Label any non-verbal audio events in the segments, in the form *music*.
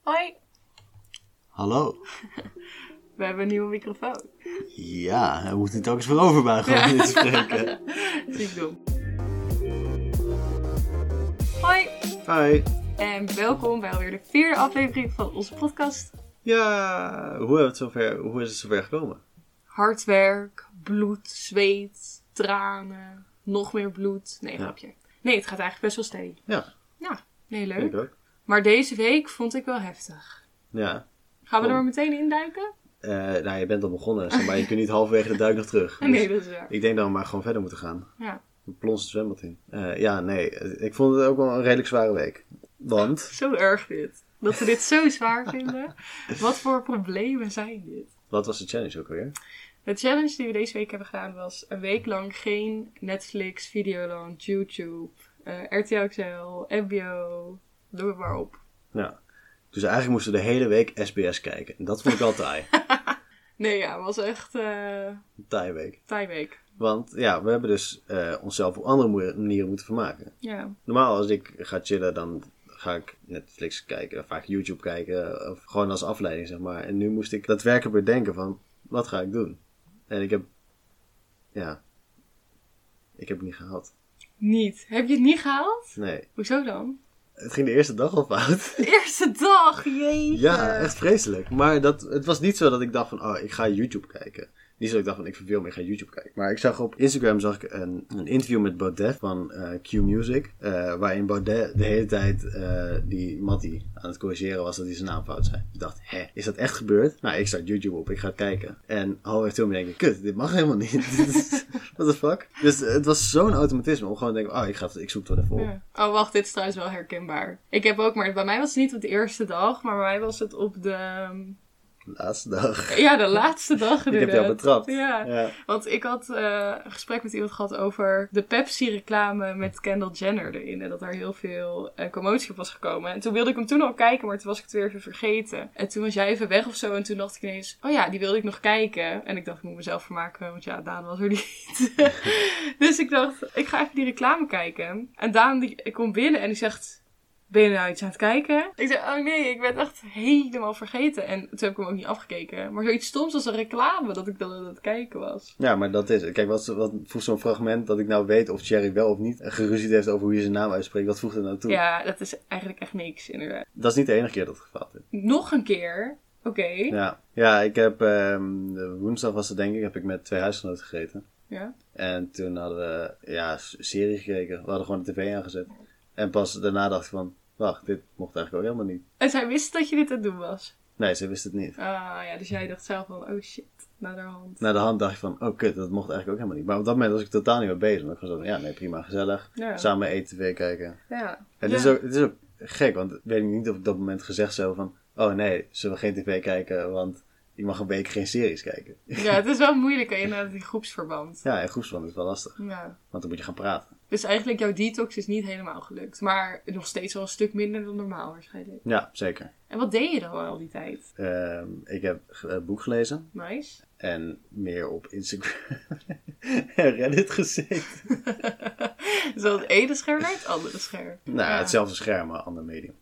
Hoi, Hallo. we hebben een nieuwe microfoon. Ja, we moeten het ook eens voor overbuigen om dit te *laughs* spreken. Ziek dom. Hoi Hoi. en welkom bij alweer de vierde aflevering van onze podcast. Ja, hoe, hebben we het zover, hoe is het zover gekomen? Hard werk, bloed, zweet, tranen, nog meer bloed. Nee, grapje. Nee, het gaat eigenlijk best wel steady. Ja, Ja, nee, ik leuk. ook. Maar deze week vond ik wel heftig. Ja. Gaan we er Oh. maar meteen induiken? Eh, nou, je bent al begonnen, zeg maar je kunt niet halverwege de duik nog terug. Dus *laughs* Nee, dat is waar. Ik denk dat we maar gewoon verder moeten gaan. Ja. We plonsen het zwembad in. Eh, ja, nee, eh, ik vond het ook wel een redelijk zware week. Want, Zo erg dit. Dat we dit zo zwaar *laughs* vinden. Wat voor problemen zijn dit? wat was de challenge ook alweer? De challenge die we deze week hebben gedaan was een week lang geen Netflix, Videoland, YouTube, eh, RTL XL, MBO, noem het maar op. Ja. Dus eigenlijk moesten we de hele week SBS kijken. En dat *laughs* vond ik wel taai. Nee, ja, het was echt eh taai week. taai week. Want ja, we hebben dus eh, onszelf op andere moe- manieren moeten vermaken. Ja. Normaal als ik ga chillen, dan ga ik Netflix kijken, of vaak YouTube kijken, of gewoon als afleiding zeg maar. En nu moest ik daadwerkelijk bedenken van, wat ga ik doen? En ik heb, ja, ik heb het niet gehaald. Niet. Heb je het niet gehaald? Nee, Hoezo dan? het ging de eerste dag al fout. *laughs* De eerste dag, jee. Ja, echt vreselijk. Maar dat, het was niet zo dat ik dacht van, oh, ik ga YouTube kijken. Niet zo dat ik dacht van, ik verveel me, ik ga YouTube kijken. Maar ik zag op Instagram zag ik een, een interview met Baudet van eh, Q Music. eh, waarin Baudet de hele tijd eh, die Matty aan het corrigeren was dat hij zijn naam fout zei. Ik dacht, hè, is dat echt gebeurd? Nou, ik start YouTube op, ik ga kijken. En halverwege toen denk ik, kut, dit mag helemaal niet. *laughs* What the fuck? Dus het was zo'n automatisme om gewoon te denken, oh, ik, ga, het- ik zoek het wel even op. Ja. Oh, wacht, dit is trouwens wel herkenbaar. Ik heb ook, maar bij mij was het niet op de eerste dag, maar bij mij was het op de, Laatste dag. ja, de laatste dag Ik heb jou inderdaad. betrapt. Ja. ja. Want ik had eh, een gesprek met iemand gehad over de Pepsi-reclame met Kendall Jenner erin. En dat daar heel veel eh, commotie op was gekomen. En toen wilde ik hem toen al kijken, maar toen was ik het weer even vergeten. En toen was jij even weg of zo. En toen dacht ik ineens, oh ja, die wilde ik nog kijken. En ik dacht, ik moet mezelf vermaken, want ja, Daan was er niet. *laughs* dus ik dacht, ik ga even die reclame kijken. En Daan die, ik komt binnen en die zegt... Ben je nou iets aan het kijken? Ik zei, oh nee, ik ben het echt helemaal vergeten. En toen heb ik hem ook niet afgekeken. Maar zoiets stoms als een reclame, dat ik dan aan het kijken was. Ja, maar dat is het. Kijk, wat, wat voegt zo'n fragment dat ik nou weet of Thierry wel of niet geruzied heeft over hoe je zijn naam uitspreekt, wat voegt er nou toe? Ja, dat is eigenlijk echt niks, inderdaad. Dat is niet de enige keer dat het gefaald is. Nog een keer. Oké. Ja. Ja, ja ik heb, ehm, de woensdag was het denk ik, heb ik met twee huisgenoten gegeten. En toen hadden we, ja, s- serie gekeken. We hadden gewoon de tv aangezet. En pas daarna dacht ik van, wacht, dit mocht eigenlijk ook helemaal niet. En zij wist dat je dit aan het doen was. Nee, ze wist het niet. Ah ja, dus jij dacht zelf van, oh shit, naar de hand. Na de hand dacht ik van, oh kut, dat mocht eigenlijk ook helemaal niet. Maar op dat moment was ik totaal niet mee bezig. Want ik was zo van, ja, nee, prima, gezellig. Ja. Samen eten, tv kijken. Ja. Het, Ja. is ook, het is ook gek, want weet ik niet of ik op dat moment gezegd zou hebben van... Oh nee, zullen we geen tv kijken, want je mag een week geen series kijken. ja, het is wel moeilijk inderdaad, die groepsverband. Ja, en groepsverband is wel lastig, Ja. want dan moet je gaan praten. Dus eigenlijk jouw detox is niet helemaal gelukt. Maar nog steeds wel een stuk minder dan normaal waarschijnlijk. Ja, zeker. En wat deed je dan al die tijd? Ehm, ik heb ge- een boek gelezen Nice. en meer op Instagram *laughs* en Reddit gezeten. Dus dat het ene scherm naar het andere scherm. Nou, ja. hetzelfde scherm, maar ander medium.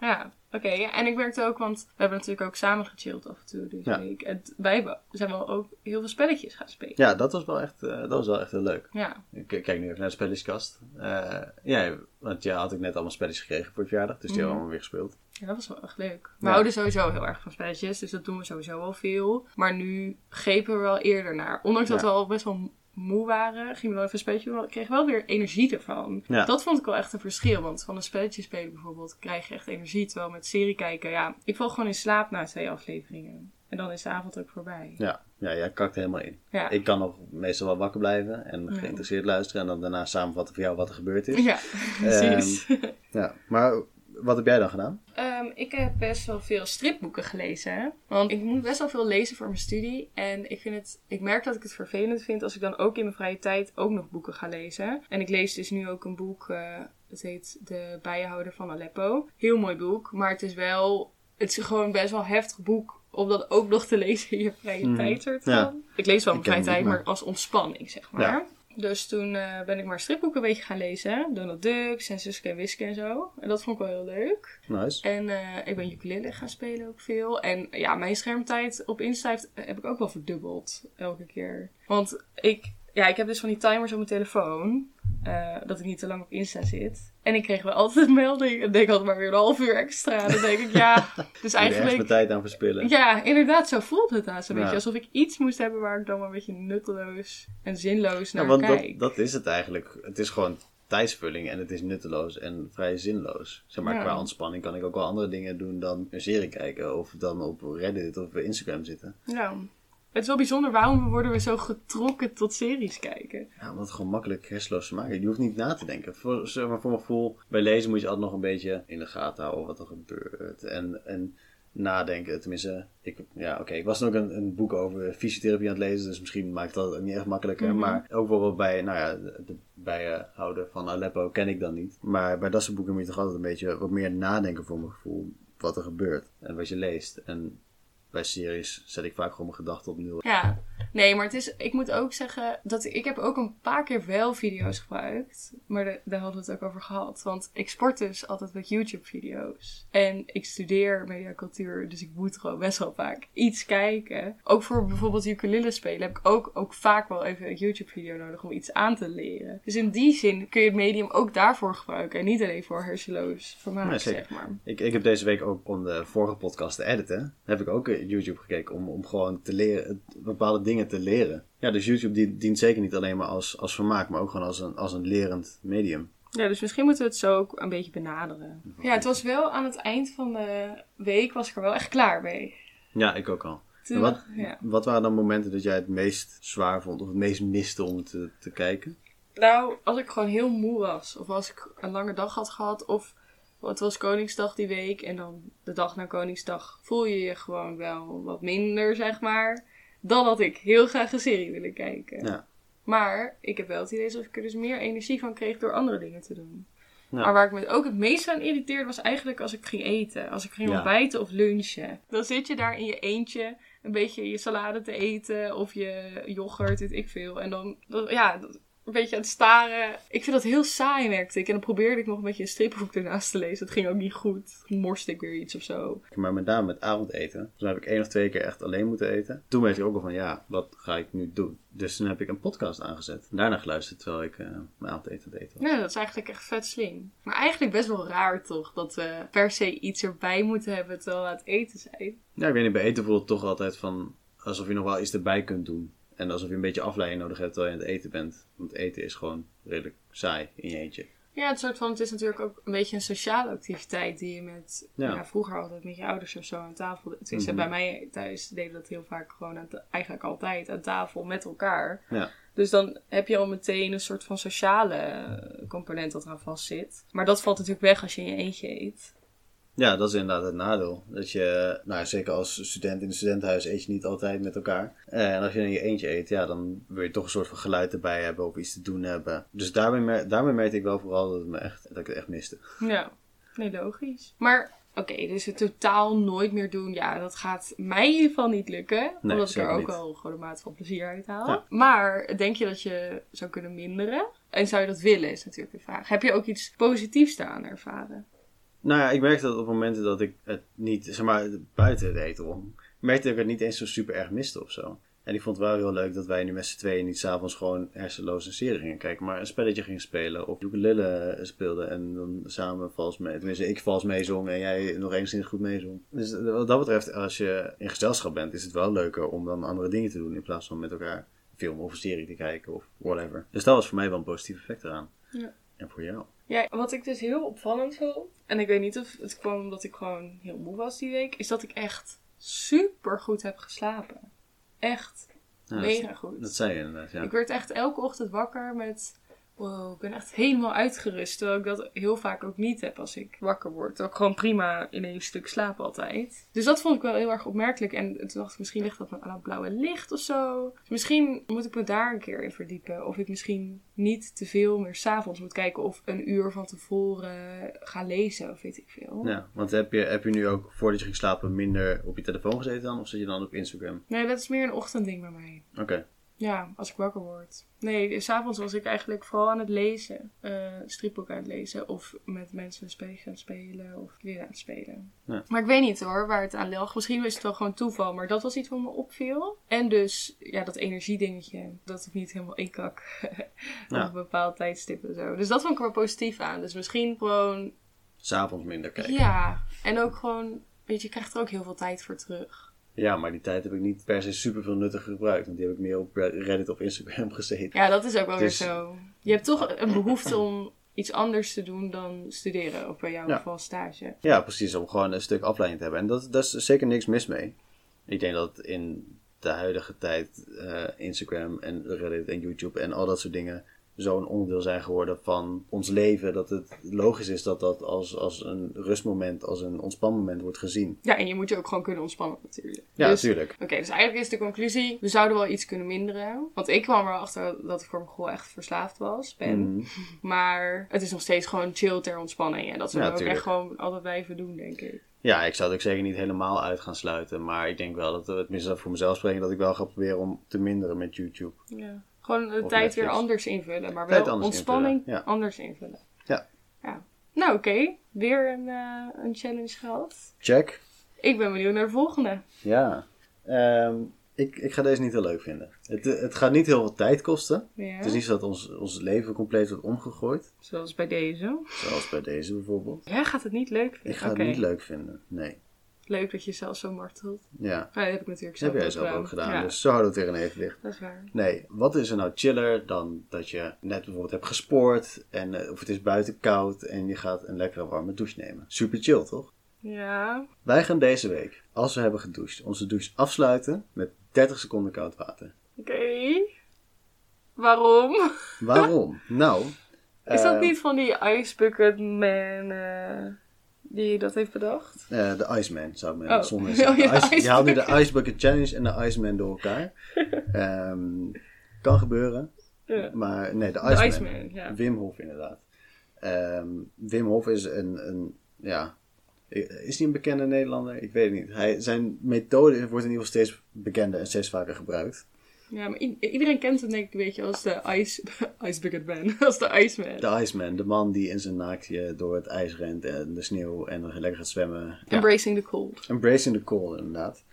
Ja, oké. ja. En ik merkte ook, want we hebben natuurlijk ook samen gechilled af en toe deze Ja. week. En t- wij hebben- zijn wel ook heel veel spelletjes gaan spelen. Ja, dat was wel echt, eh, dat was wel echt heel leuk. Ja, Ik k- kijk nu even naar de spelleskast. Eh, ja, want ja, had ik net allemaal spelletjes gekregen voor het verjaardag, dus die hebben we allemaal weer gespeeld. ja, dat was wel echt leuk. We Ja. houden sowieso heel erg van spelletjes, dus dat doen we sowieso wel veel. Maar nu grepen we wel eerder naar. Ondanks dat Ja. we al best wel moe waren, gingen we wel even een spelletje doen. maar Ik kreeg wel weer energie ervan. Ja. Dat vond ik wel echt een verschil, want van een spelletje spelen bijvoorbeeld krijg je echt energie. Terwijl met serie kijken, ja, ik val gewoon in slaap na twee afleveringen. En dan is de avond ook voorbij. Ja, ja jij kakt er helemaal in. Ja. Ik kan nog meestal wel wakker blijven en geïnteresseerd luisteren en dan daarna samenvatten voor jou wat er gebeurd is. Ja, *laughs* ehm, precies. Ja, maar wat heb jij dan gedaan? Ehm, ik heb best wel veel stripboeken gelezen. Want ik moet best wel veel lezen voor mijn studie. En ik, vind het, ik merk dat ik het vervelend vind als ik dan ook in mijn vrije tijd ook nog boeken ga lezen. En ik lees dus nu ook een boek, eh, het heet De Bijenhouder van Aleppo. Heel mooi boek, maar het is wel, het is gewoon best wel een heftig boek. Om dat ook nog te *laughs* lezen in je vrije tijd soort van. Mhm. ja. Ik lees wel in Ik mijn vrije ken tijd, het, maar- maar als ontspanning, zeg maar. Ja. Dus toen eh, ben ik maar stripboeken een beetje gaan lezen. Donald Ducks en Suske en Wiske en zo. En dat vond ik wel heel leuk. Nice. En eh, ik ben ukulele gaan spelen ook veel. En ja, mijn schermtijd op Insta heeft- eh, heb ik ook wel verdubbeld elke keer. Want ik, ja, ik heb dus van die timers op mijn telefoon. eh, dat ik niet te lang op Insta zit. En ik kreeg wel altijd een melding. En denk altijd maar weer een half uur extra. Dan denk ik, *laughs* ja. Dus Moet je er echt mijn eigenlijk. tijd aan verspillen. Ja, inderdaad, zo voelt het haast een Ja. beetje. Alsof ik iets moest hebben waar ik dan wel een beetje nutteloos en zinloos naar Ja, want nou, kijk. dat, dat is het eigenlijk. Het is gewoon tijdsvulling en het is nutteloos en vrij zinloos. Zeg maar, Ja. qua ontspanning kan ik ook wel andere dingen doen dan een serie kijken of dan op Reddit of Instagram zitten. Nou, het is wel bijzonder waarom worden we zo getrokken tot series kijken. Ja, omdat het gewoon makkelijk hersenloos te maken. Je hoeft niet na te denken. Voor, zeg maar, voor mijn gevoel, bij lezen moet je altijd nog een beetje in de gaten houden wat er gebeurt. En, en nadenken, tenminste. Ik, ja, oké. Ik was ook een, een boek over fysiotherapie aan het lezen, dus misschien maakt dat het niet echt makkelijker. Mhm. Maar ook bijvoorbeeld bij, nou ja, de, de bijhouder van Aleppo ken ik dan niet. Maar bij dat soort boeken moet je toch altijd een beetje wat meer nadenken voor mijn gevoel. Wat er gebeurt en wat je leest. En bij series zet ik vaak gewoon mijn gedachten op nul. Ja, nee, maar het is, ik moet ook zeggen dat ik heb ook een paar keer wel video's gebruikt. Maar de- daar hadden we het ook over gehad. Want ik sport dus altijd met YouTube-video's. En ik studeer mediacultuur, dus ik moet gewoon best wel vaak iets kijken. Ook voor bijvoorbeeld ukulele spelen heb ik ook, ook vaak wel even een YouTube-video nodig om iets aan te leren. Dus in die zin kun je het medium ook daarvoor gebruiken. En niet alleen voor hersenloos vermaak, Nee, zeker. zeg maar. Ik, ik heb deze week ook om de vorige podcast te editen, heb ik ook eh, YouTube gekeken om, om gewoon te leren, bepaalde dingen te leren. Ja, dus YouTube die, dient zeker niet alleen maar als, als vermaak, maar ook gewoon als een, als een lerend medium. Ja, dus misschien moeten we het zo ook een beetje benaderen. Ja, het was wel aan het eind van de week was ik er wel echt klaar mee. Ja, ik ook al. Toen En wat, ja. wat waren dan momenten dat jij het meest zwaar vond of het meest miste om te, te kijken? Nou, als ik gewoon heel moe was, of als ik een lange dag had gehad, of het was Koningsdag die week en dan de dag na Koningsdag voel je je gewoon wel wat minder, zeg maar. Dan had ik heel graag een serie willen kijken. Ja. Maar ik heb wel het idee alsof ik er dus meer energie van kreeg door andere dingen te doen. Ja. Maar waar ik me ook het meest aan irriteerde was eigenlijk als ik ging eten. Als ik ging Ja. ontbijten of lunchen. Dan zit je daar in je eentje een beetje je salade te eten of je yoghurt, weet ik veel. En dan, dat- ja, dat- een beetje aan het staren. Ik vind dat heel saai, merkte ik. En dan probeerde ik nog een beetje een stripboek ernaast te lezen. Dat ging ook niet goed. Toen morste ik weer iets of zo. Maar met name met avondeten. Toen heb ik één of twee keer echt alleen moeten eten. Toen weet ik ook al van, ja, wat ga ik nu doen? Dus toen heb ik een podcast aangezet. En daarna geluisterd terwijl ik eh, mijn avondeten deed. Ja, dat is eigenlijk echt vet slim. Maar eigenlijk best wel raar toch, dat we per se iets erbij moeten hebben terwijl we aan het eten zijn. Ja, ik weet niet, bij eten voelt het toch altijd van alsof je nog wel iets erbij kunt doen. En alsof je een beetje afleiding nodig hebt terwijl je aan het eten bent. Want eten is gewoon redelijk saai in je eentje. Ja, het, soort van, het is natuurlijk ook een beetje een sociale activiteit die je met... Ja. Ja. vroeger altijd met je ouders of zo aan tafel... Tenminste, Mhm. bij mij thuis deden we dat heel vaak gewoon... Aan ta- eigenlijk altijd aan tafel met elkaar. Ja. Dus dan heb je al meteen een soort van sociale eh, component dat eraan vast zit. Maar dat valt natuurlijk weg als je in je eentje eet. Ja, dat is inderdaad het nadeel. Dat je, nou zeker als student in het studentenhuis eet je niet altijd met elkaar. Eh, En als je in je eentje eet, ja, dan wil je toch een soort van geluid erbij hebben of iets te doen hebben. Dus daarmee, mer- daarmee merkte ik wel vooral dat, het me echt, dat ik het echt miste. Ja, nee, logisch. Maar oké, dus het totaal nooit meer doen, ja, dat gaat mij in ieder geval niet lukken. omdat ik er zeker ook niet. wel gewoon een maat van plezier uit haal. Ja. Maar denk je dat je zou kunnen minderen? En zou je dat willen, is natuurlijk de vraag. Heb je ook iets positiefs daaraan ervaren? Nou ja, ik merkte dat op momenten dat ik het niet, zeg maar, buiten het eten om, merkte dat ik het niet eens zo super erg miste of zo. En ik vond het wel heel leuk dat wij nu met z'n tweeën niet s'avonds gewoon hersenloos een serie gingen kijken, maar een spelletje gingen spelen of ukulele speelden en dan samen vals mee, tenminste ik vals meezong en jij nog enigszins goed meezong. Dus wat dat betreft, als je in gezelschap bent, is het wel leuker om dan andere dingen te doen in plaats van met elkaar een film of een serie te kijken of whatever. Dus dat was voor mij wel een positief effect eraan. Ja. En voor jou? Ja, wat ik dus heel opvallend vond, en ik weet niet of het kwam omdat ik gewoon heel moe was die week, is dat ik echt super goed heb geslapen. Echt Ja, dat- mega goed. Dat zei je inderdaad, ja. Ik werd echt elke ochtend wakker met. Wow, ik ben echt helemaal uitgerust. Terwijl ik dat heel vaak ook niet heb als ik wakker word. Dat ik gewoon prima in één stuk slaap altijd. Dus dat vond ik wel heel erg opmerkelijk. En toen dacht ik, misschien ligt dat aan het blauwe licht of zo. Dus misschien moet ik me daar een keer in verdiepen. Of ik misschien niet te veel meer s'avonds moet kijken. Of een uur van tevoren ga lezen of weet ik veel. Ja, want heb je, heb je nu ook voordat je ging slapen minder op je telefoon gezeten dan? Of zit je dan op Instagram? Nee, dat is meer een ochtendding bij mij. Oké. Ja, als ik wakker word. Nee, s'avonds was ik eigenlijk vooral aan het lezen. Eh stripboek aan het lezen. Of met mensen spelen gaan spelen. Of weer aan het spelen. Ja. Maar ik weet niet hoor, waar het aan lag. Misschien is het wel gewoon toeval. Maar dat was iets wat me opviel. En dus, ja, dat energiedingetje. Dat ik niet helemaal *laughs* inkak. Ja. Op een bepaald tijdstip en zo. Dus dat vond ik er wel positief aan. Dus misschien gewoon... S'avonds minder kijken. Ja. Ja. En ook gewoon... Weet je, je krijgt er ook heel veel tijd voor terug. maar die tijd heb ik niet per se super veel nuttig gebruikt. Want die heb ik meer op Reddit of Instagram *laughs* gezeten. Ja, dat is ook wel Dus- weer zo. Je hebt toch een behoefte om iets anders te doen dan studeren. Of bij jou Ja. vooral stage. Ja, precies. Om gewoon een stuk afleiding te hebben. En dat, daar is zeker niks mis mee. Ik denk dat in de huidige tijd eh, Instagram en Reddit en YouTube en al dat soort dingen zo'n onderdeel zijn geworden van ons leven. Dat het logisch is dat dat als, als een rustmoment, als een ontspanmoment wordt gezien. Ja, en je moet je ook gewoon kunnen ontspannen natuurlijk. Ja, Dus- natuurlijk. Oké, dus eigenlijk is de conclusie, we zouden wel iets kunnen minderen. Want ik kwam erachter dat ik voor mijn gevoel echt verslaafd was, ben. Mhm. *laughs* Maar het is nog steeds gewoon chill ter ontspanning. En dat zullen Ja, we ook echt tuurlijk. gewoon altijd blijven doen, denk ik. Ja, ik zou het ook zeker niet helemaal uit gaan sluiten. Maar ik denk wel dat, eh, tenminste dat voor mezelf spreken, dat ik wel ga proberen om te minderen met YouTube. Ja. Gewoon de Of tijd Netflix. weer anders invullen, maar Tijd wel anders ontspanning invullen, ja. anders invullen. Ja. ja. Nou oké, weer een, eh, een challenge gehad. Check. Ik ben benieuwd naar de volgende. Ja. Ehm, ik, ik ga deze niet heel leuk vinden. Het, eh, het gaat niet heel veel tijd kosten. Ja. Het is niet zo dat ons, ons leven compleet wordt omgegooid. Zoals bij deze. Zoals bij deze bijvoorbeeld. Jij gaat het niet leuk vinden. Ik ga Oké. het niet leuk vinden. Nee. Leuk dat je zelf zo martelt. Ja. Maar dat heb ik natuurlijk zelf Dat heb jij ook zelf gedaan. ook gedaan. Ja, Dus zo houden we het weer in evenwicht. dat is waar. Nee, wat is er nou chiller dan dat je net bijvoorbeeld hebt gespoord en eh, of het is buiten koud en je gaat een lekkere warme douche nemen. Super chill, toch? Ja, Wij gaan deze week, als we hebben gedoucht, onze douche afsluiten met 30 seconden koud water. oké. Waarom? Waarom? nou, Ah. Is dat eh, niet van die Ice Bucket Man eh, die dat heeft bedacht? eh, de Iceman zou ik me Oh. *laughs* zonder Oh, ja, zeggen. Ice- Je Ice haalt nu de Ice Bucket Challenge en de Iceman door *laughs* elkaar. Ehm, kan gebeuren, Ja. maar nee, de De Iceman. Iceman, ja. Wim Hof, inderdaad. Ehm, Wim Hof is een, een. Ja. Is hij een bekende Nederlander? Ik weet het niet. Hij, zijn methode wordt in ieder geval steeds bekender en steeds vaker gebruikt. Ja, maar i- iedereen kent hem denk ik een beetje als de Ice, *laughs* ice Bucket Man. als de Iceman. De Iceman, de man die in zijn naaktje door het ijs rent en de sneeuw en lekker gaat zwemmen. Ja. Embracing the Cold. Embracing the Cold, inderdaad.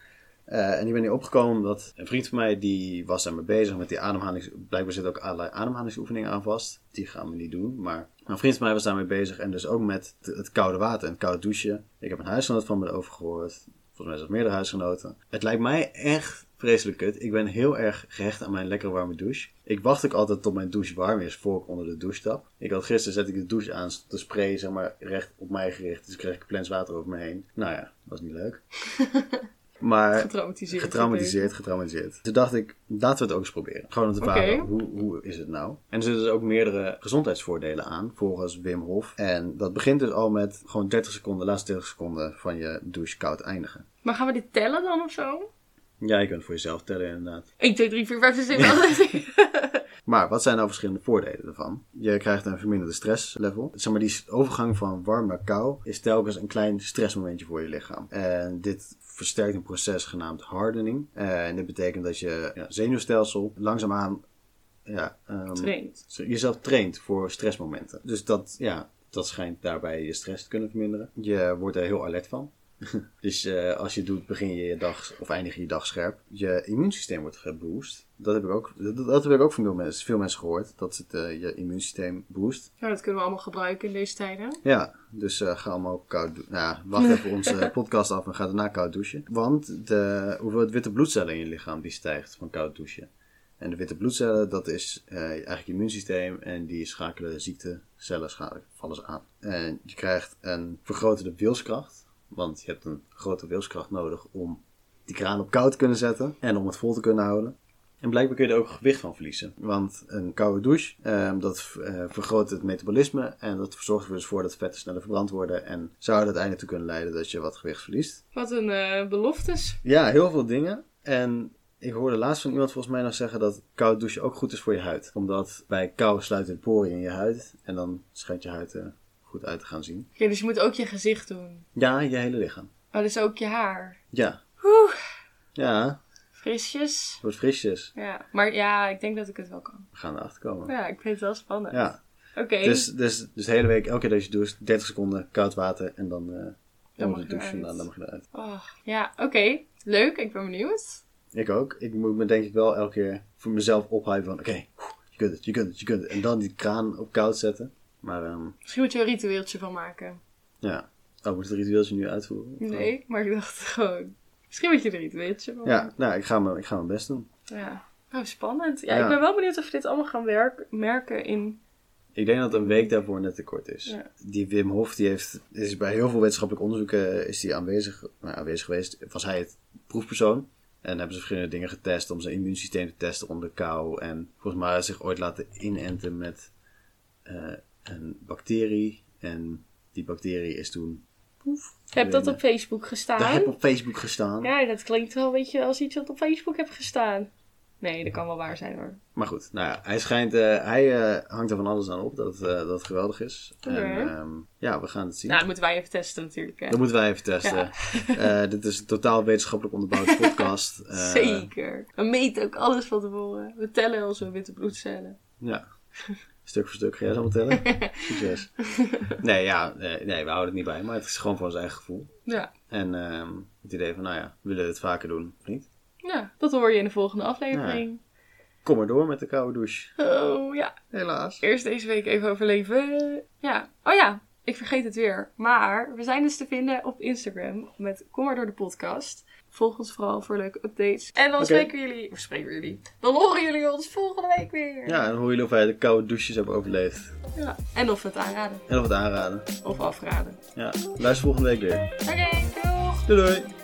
Eh, en ik ben hier opgekomen omdat een vriend van mij die was daarmee bezig met die ademhalings... Blijkbaar zit ook allerlei ademhalingsoefeningen aan vast. Die gaan we niet doen, maar een vriend van mij was daarmee bezig. En dus ook met het, het koude water en het koude douchen. Ik heb een huisgenoot van me over gehoord. Volgens mij zelfs meerdere huisgenoten. Het lijkt mij echt vreselijk kut. Ik ben heel erg gehecht aan mijn lekkere warme douche. Ik wacht ook altijd tot mijn douche warm is voor ik onder de douche stap. Ik had gisteren zet ik de douche aan, de spray zeg maar recht op mij gericht. Dus kreeg ik plens water over me heen. Nou ja, was niet leuk. Maar Getraumatiseerd. Getraumatiseerd, getraumatiseerd. Toen dacht ik, laten we het ook eens proberen. Gewoon om te Oké. vragen, hoe, hoe is het nou? En er zitten dus ook meerdere gezondheidsvoordelen aan, volgens Wim Hof. En dat begint dus al met gewoon 30 seconden, laatste 30 seconden van je douche koud eindigen. Maar gaan we dit tellen dan of zo? Ja, je kunt het voor jezelf tellen inderdaad. 1, 2, 3, 4, 5, 6, 7, *laughs* 8, 9. Maar wat zijn nou verschillende voordelen daarvan? Je krijgt een verminderde stresslevel. Zeg maar, die overgang van warm naar kou is telkens een klein stressmomentje voor je lichaam. En dit versterkt een proces genaamd hardening. Eh, En dit betekent dat je ja, zenuwstelsel langzaamaan ja, ehm, Traint. jezelf traint voor stressmomenten. Dus dat, ja, dat schijnt daarbij je stress te kunnen verminderen. Je wordt er heel alert van. *laughs* Dus eh, als je het doet, begin je je dag of eindig je je dag scherp. Je immuunsysteem wordt geboost. Dat heb ik ook, dat, dat heb ik ook van veel mensen, veel mensen gehoord. Dat het eh, je immuunsysteem boost. Nou, dat kunnen we allemaal gebruiken in deze tijden. Ja, dus eh, ga allemaal koud douchen. Nou, ja, wacht even onze podcast af en ga daarna koud douchen. Want de hoeveelheid witte bloedcellen in je lichaam die stijgt van koud douchen. En de witte bloedcellen, dat is eh, eigenlijk je immuunsysteem en die schakelen ziektecellen schadelijk vallen ze aan. En je krijgt een vergroterde wilskracht, want je hebt een grote wilskracht nodig om die kraan op koud te kunnen zetten en om het vol te kunnen houden. En blijkbaar kun je er ook gewicht van verliezen. Want een koude douche, ehm, dat eh, vergroot het metabolisme. En dat zorgt er dus voor dat vetten sneller verbrand worden. En zou er uiteindelijk toe kunnen leiden dat je wat gewicht verliest. Wat een eh, beloftes. Ja, heel veel dingen. En ik hoorde laatst van iemand volgens mij nog zeggen dat koude douche ook goed is voor je huid. Omdat bij kou sluit het poriën in je huid. En dan schijnt je huid er goed uit te gaan zien. Oké, dus je moet ook je gezicht doen. Ja, je hele lichaam. Oh, dus ook je haar. Ja. Oeh, Ja. Frisjes. Wordt frisjes. Ja, maar ja, ik denk dat ik het wel kan. We gaan erachter komen. Ja. Ja, ik vind het wel spannend. Oké, Dus, dus, dus de hele week, elke keer dat je het doet, 30 seconden koud water en dan eh onder mag de je douche eruit. vandaan, dan mag je eruit. Oh, ja, oké. Leuk, ik ben benieuwd. Ik ook. Ik moet me denk ik wel elke keer voor mezelf ophypen van, oké, oeh, je kunt het, je kunt het, je kunt het. En dan die kraan op koud zetten. Maar ehm, Misschien moet je er een ritueeltje van maken. ja, oh, moet het ritueeltje nu uitvoeren? Of, eh, Nee, maar ik dacht gewoon... Misschien moet je er een ritueeltje van Ja, nou, ik ga, mijn, ik ga mijn best doen. maken. Ja. Oh, spannend. Ja, Ja. ik ben wel benieuwd of we dit allemaal gaan werk- merken in... Ik denk dat een week daarvoor net te kort is. Ja. Die Wim Hof die heeft, is bij heel veel wetenschappelijk onderzoeken eh, is die aanwezig, nou, aanwezig geweest. Was hij het proefpersoon? En hebben ze verschillende dingen getest om zijn immuunsysteem te testen onder kou. En volgens mij heeft hij zich ooit laten inenten met eh, een bacterie. En die bacterie is toen. Poef. Heb dat verdwenen. op Facebook Daar gestaan? heb ik op Facebook gestaan. Ja, dat klinkt wel een beetje als iets wat op Facebook heb gestaan. Nee, dat kan wel waar zijn hoor. Maar goed, nou ja, hij schijnt, eh, hij eh, hangt er van alles aan op dat, eh, dat het geweldig is. Oké. En ehm, ja, we gaan het zien. Nou, dat moeten wij even testen natuurlijk. Hè? Dat moeten wij even testen. Ja. Eh, dit is een totaal wetenschappelijk onderbouwde podcast. Eh, Zeker. We meten ook alles van tevoren. We tellen onze witte bloedcellen. Ja. Stuk voor stuk ga jij zo allemaal tellen. Succes. Nee, ja, eh, nee, we houden het niet bij, maar het is gewoon voor ons eigen gevoel. Ja. En ehm, het idee van, nou ja, we willen het vaker doen, of niet? ja, dat hoor je in de volgende aflevering. Kom maar door met de koude douche. Oh ja, Helaas. eerst deze week even overleven. Ja, oh ja, ik vergeet het weer. Maar we zijn dus te vinden op Instagram met Kom maar door de podcast. Volg ons vooral voor leuke updates. En dan Oké. spreken jullie, of spreken jullie, dan horen jullie ons volgende week weer. Ja, en dan hoor jullie of wij de koude douches hebben overleefd. Ja. En of we het aanraden En of we het aanraden. of afraden. Ja, luister volgende week weer. Oké, doeg! Doei doei!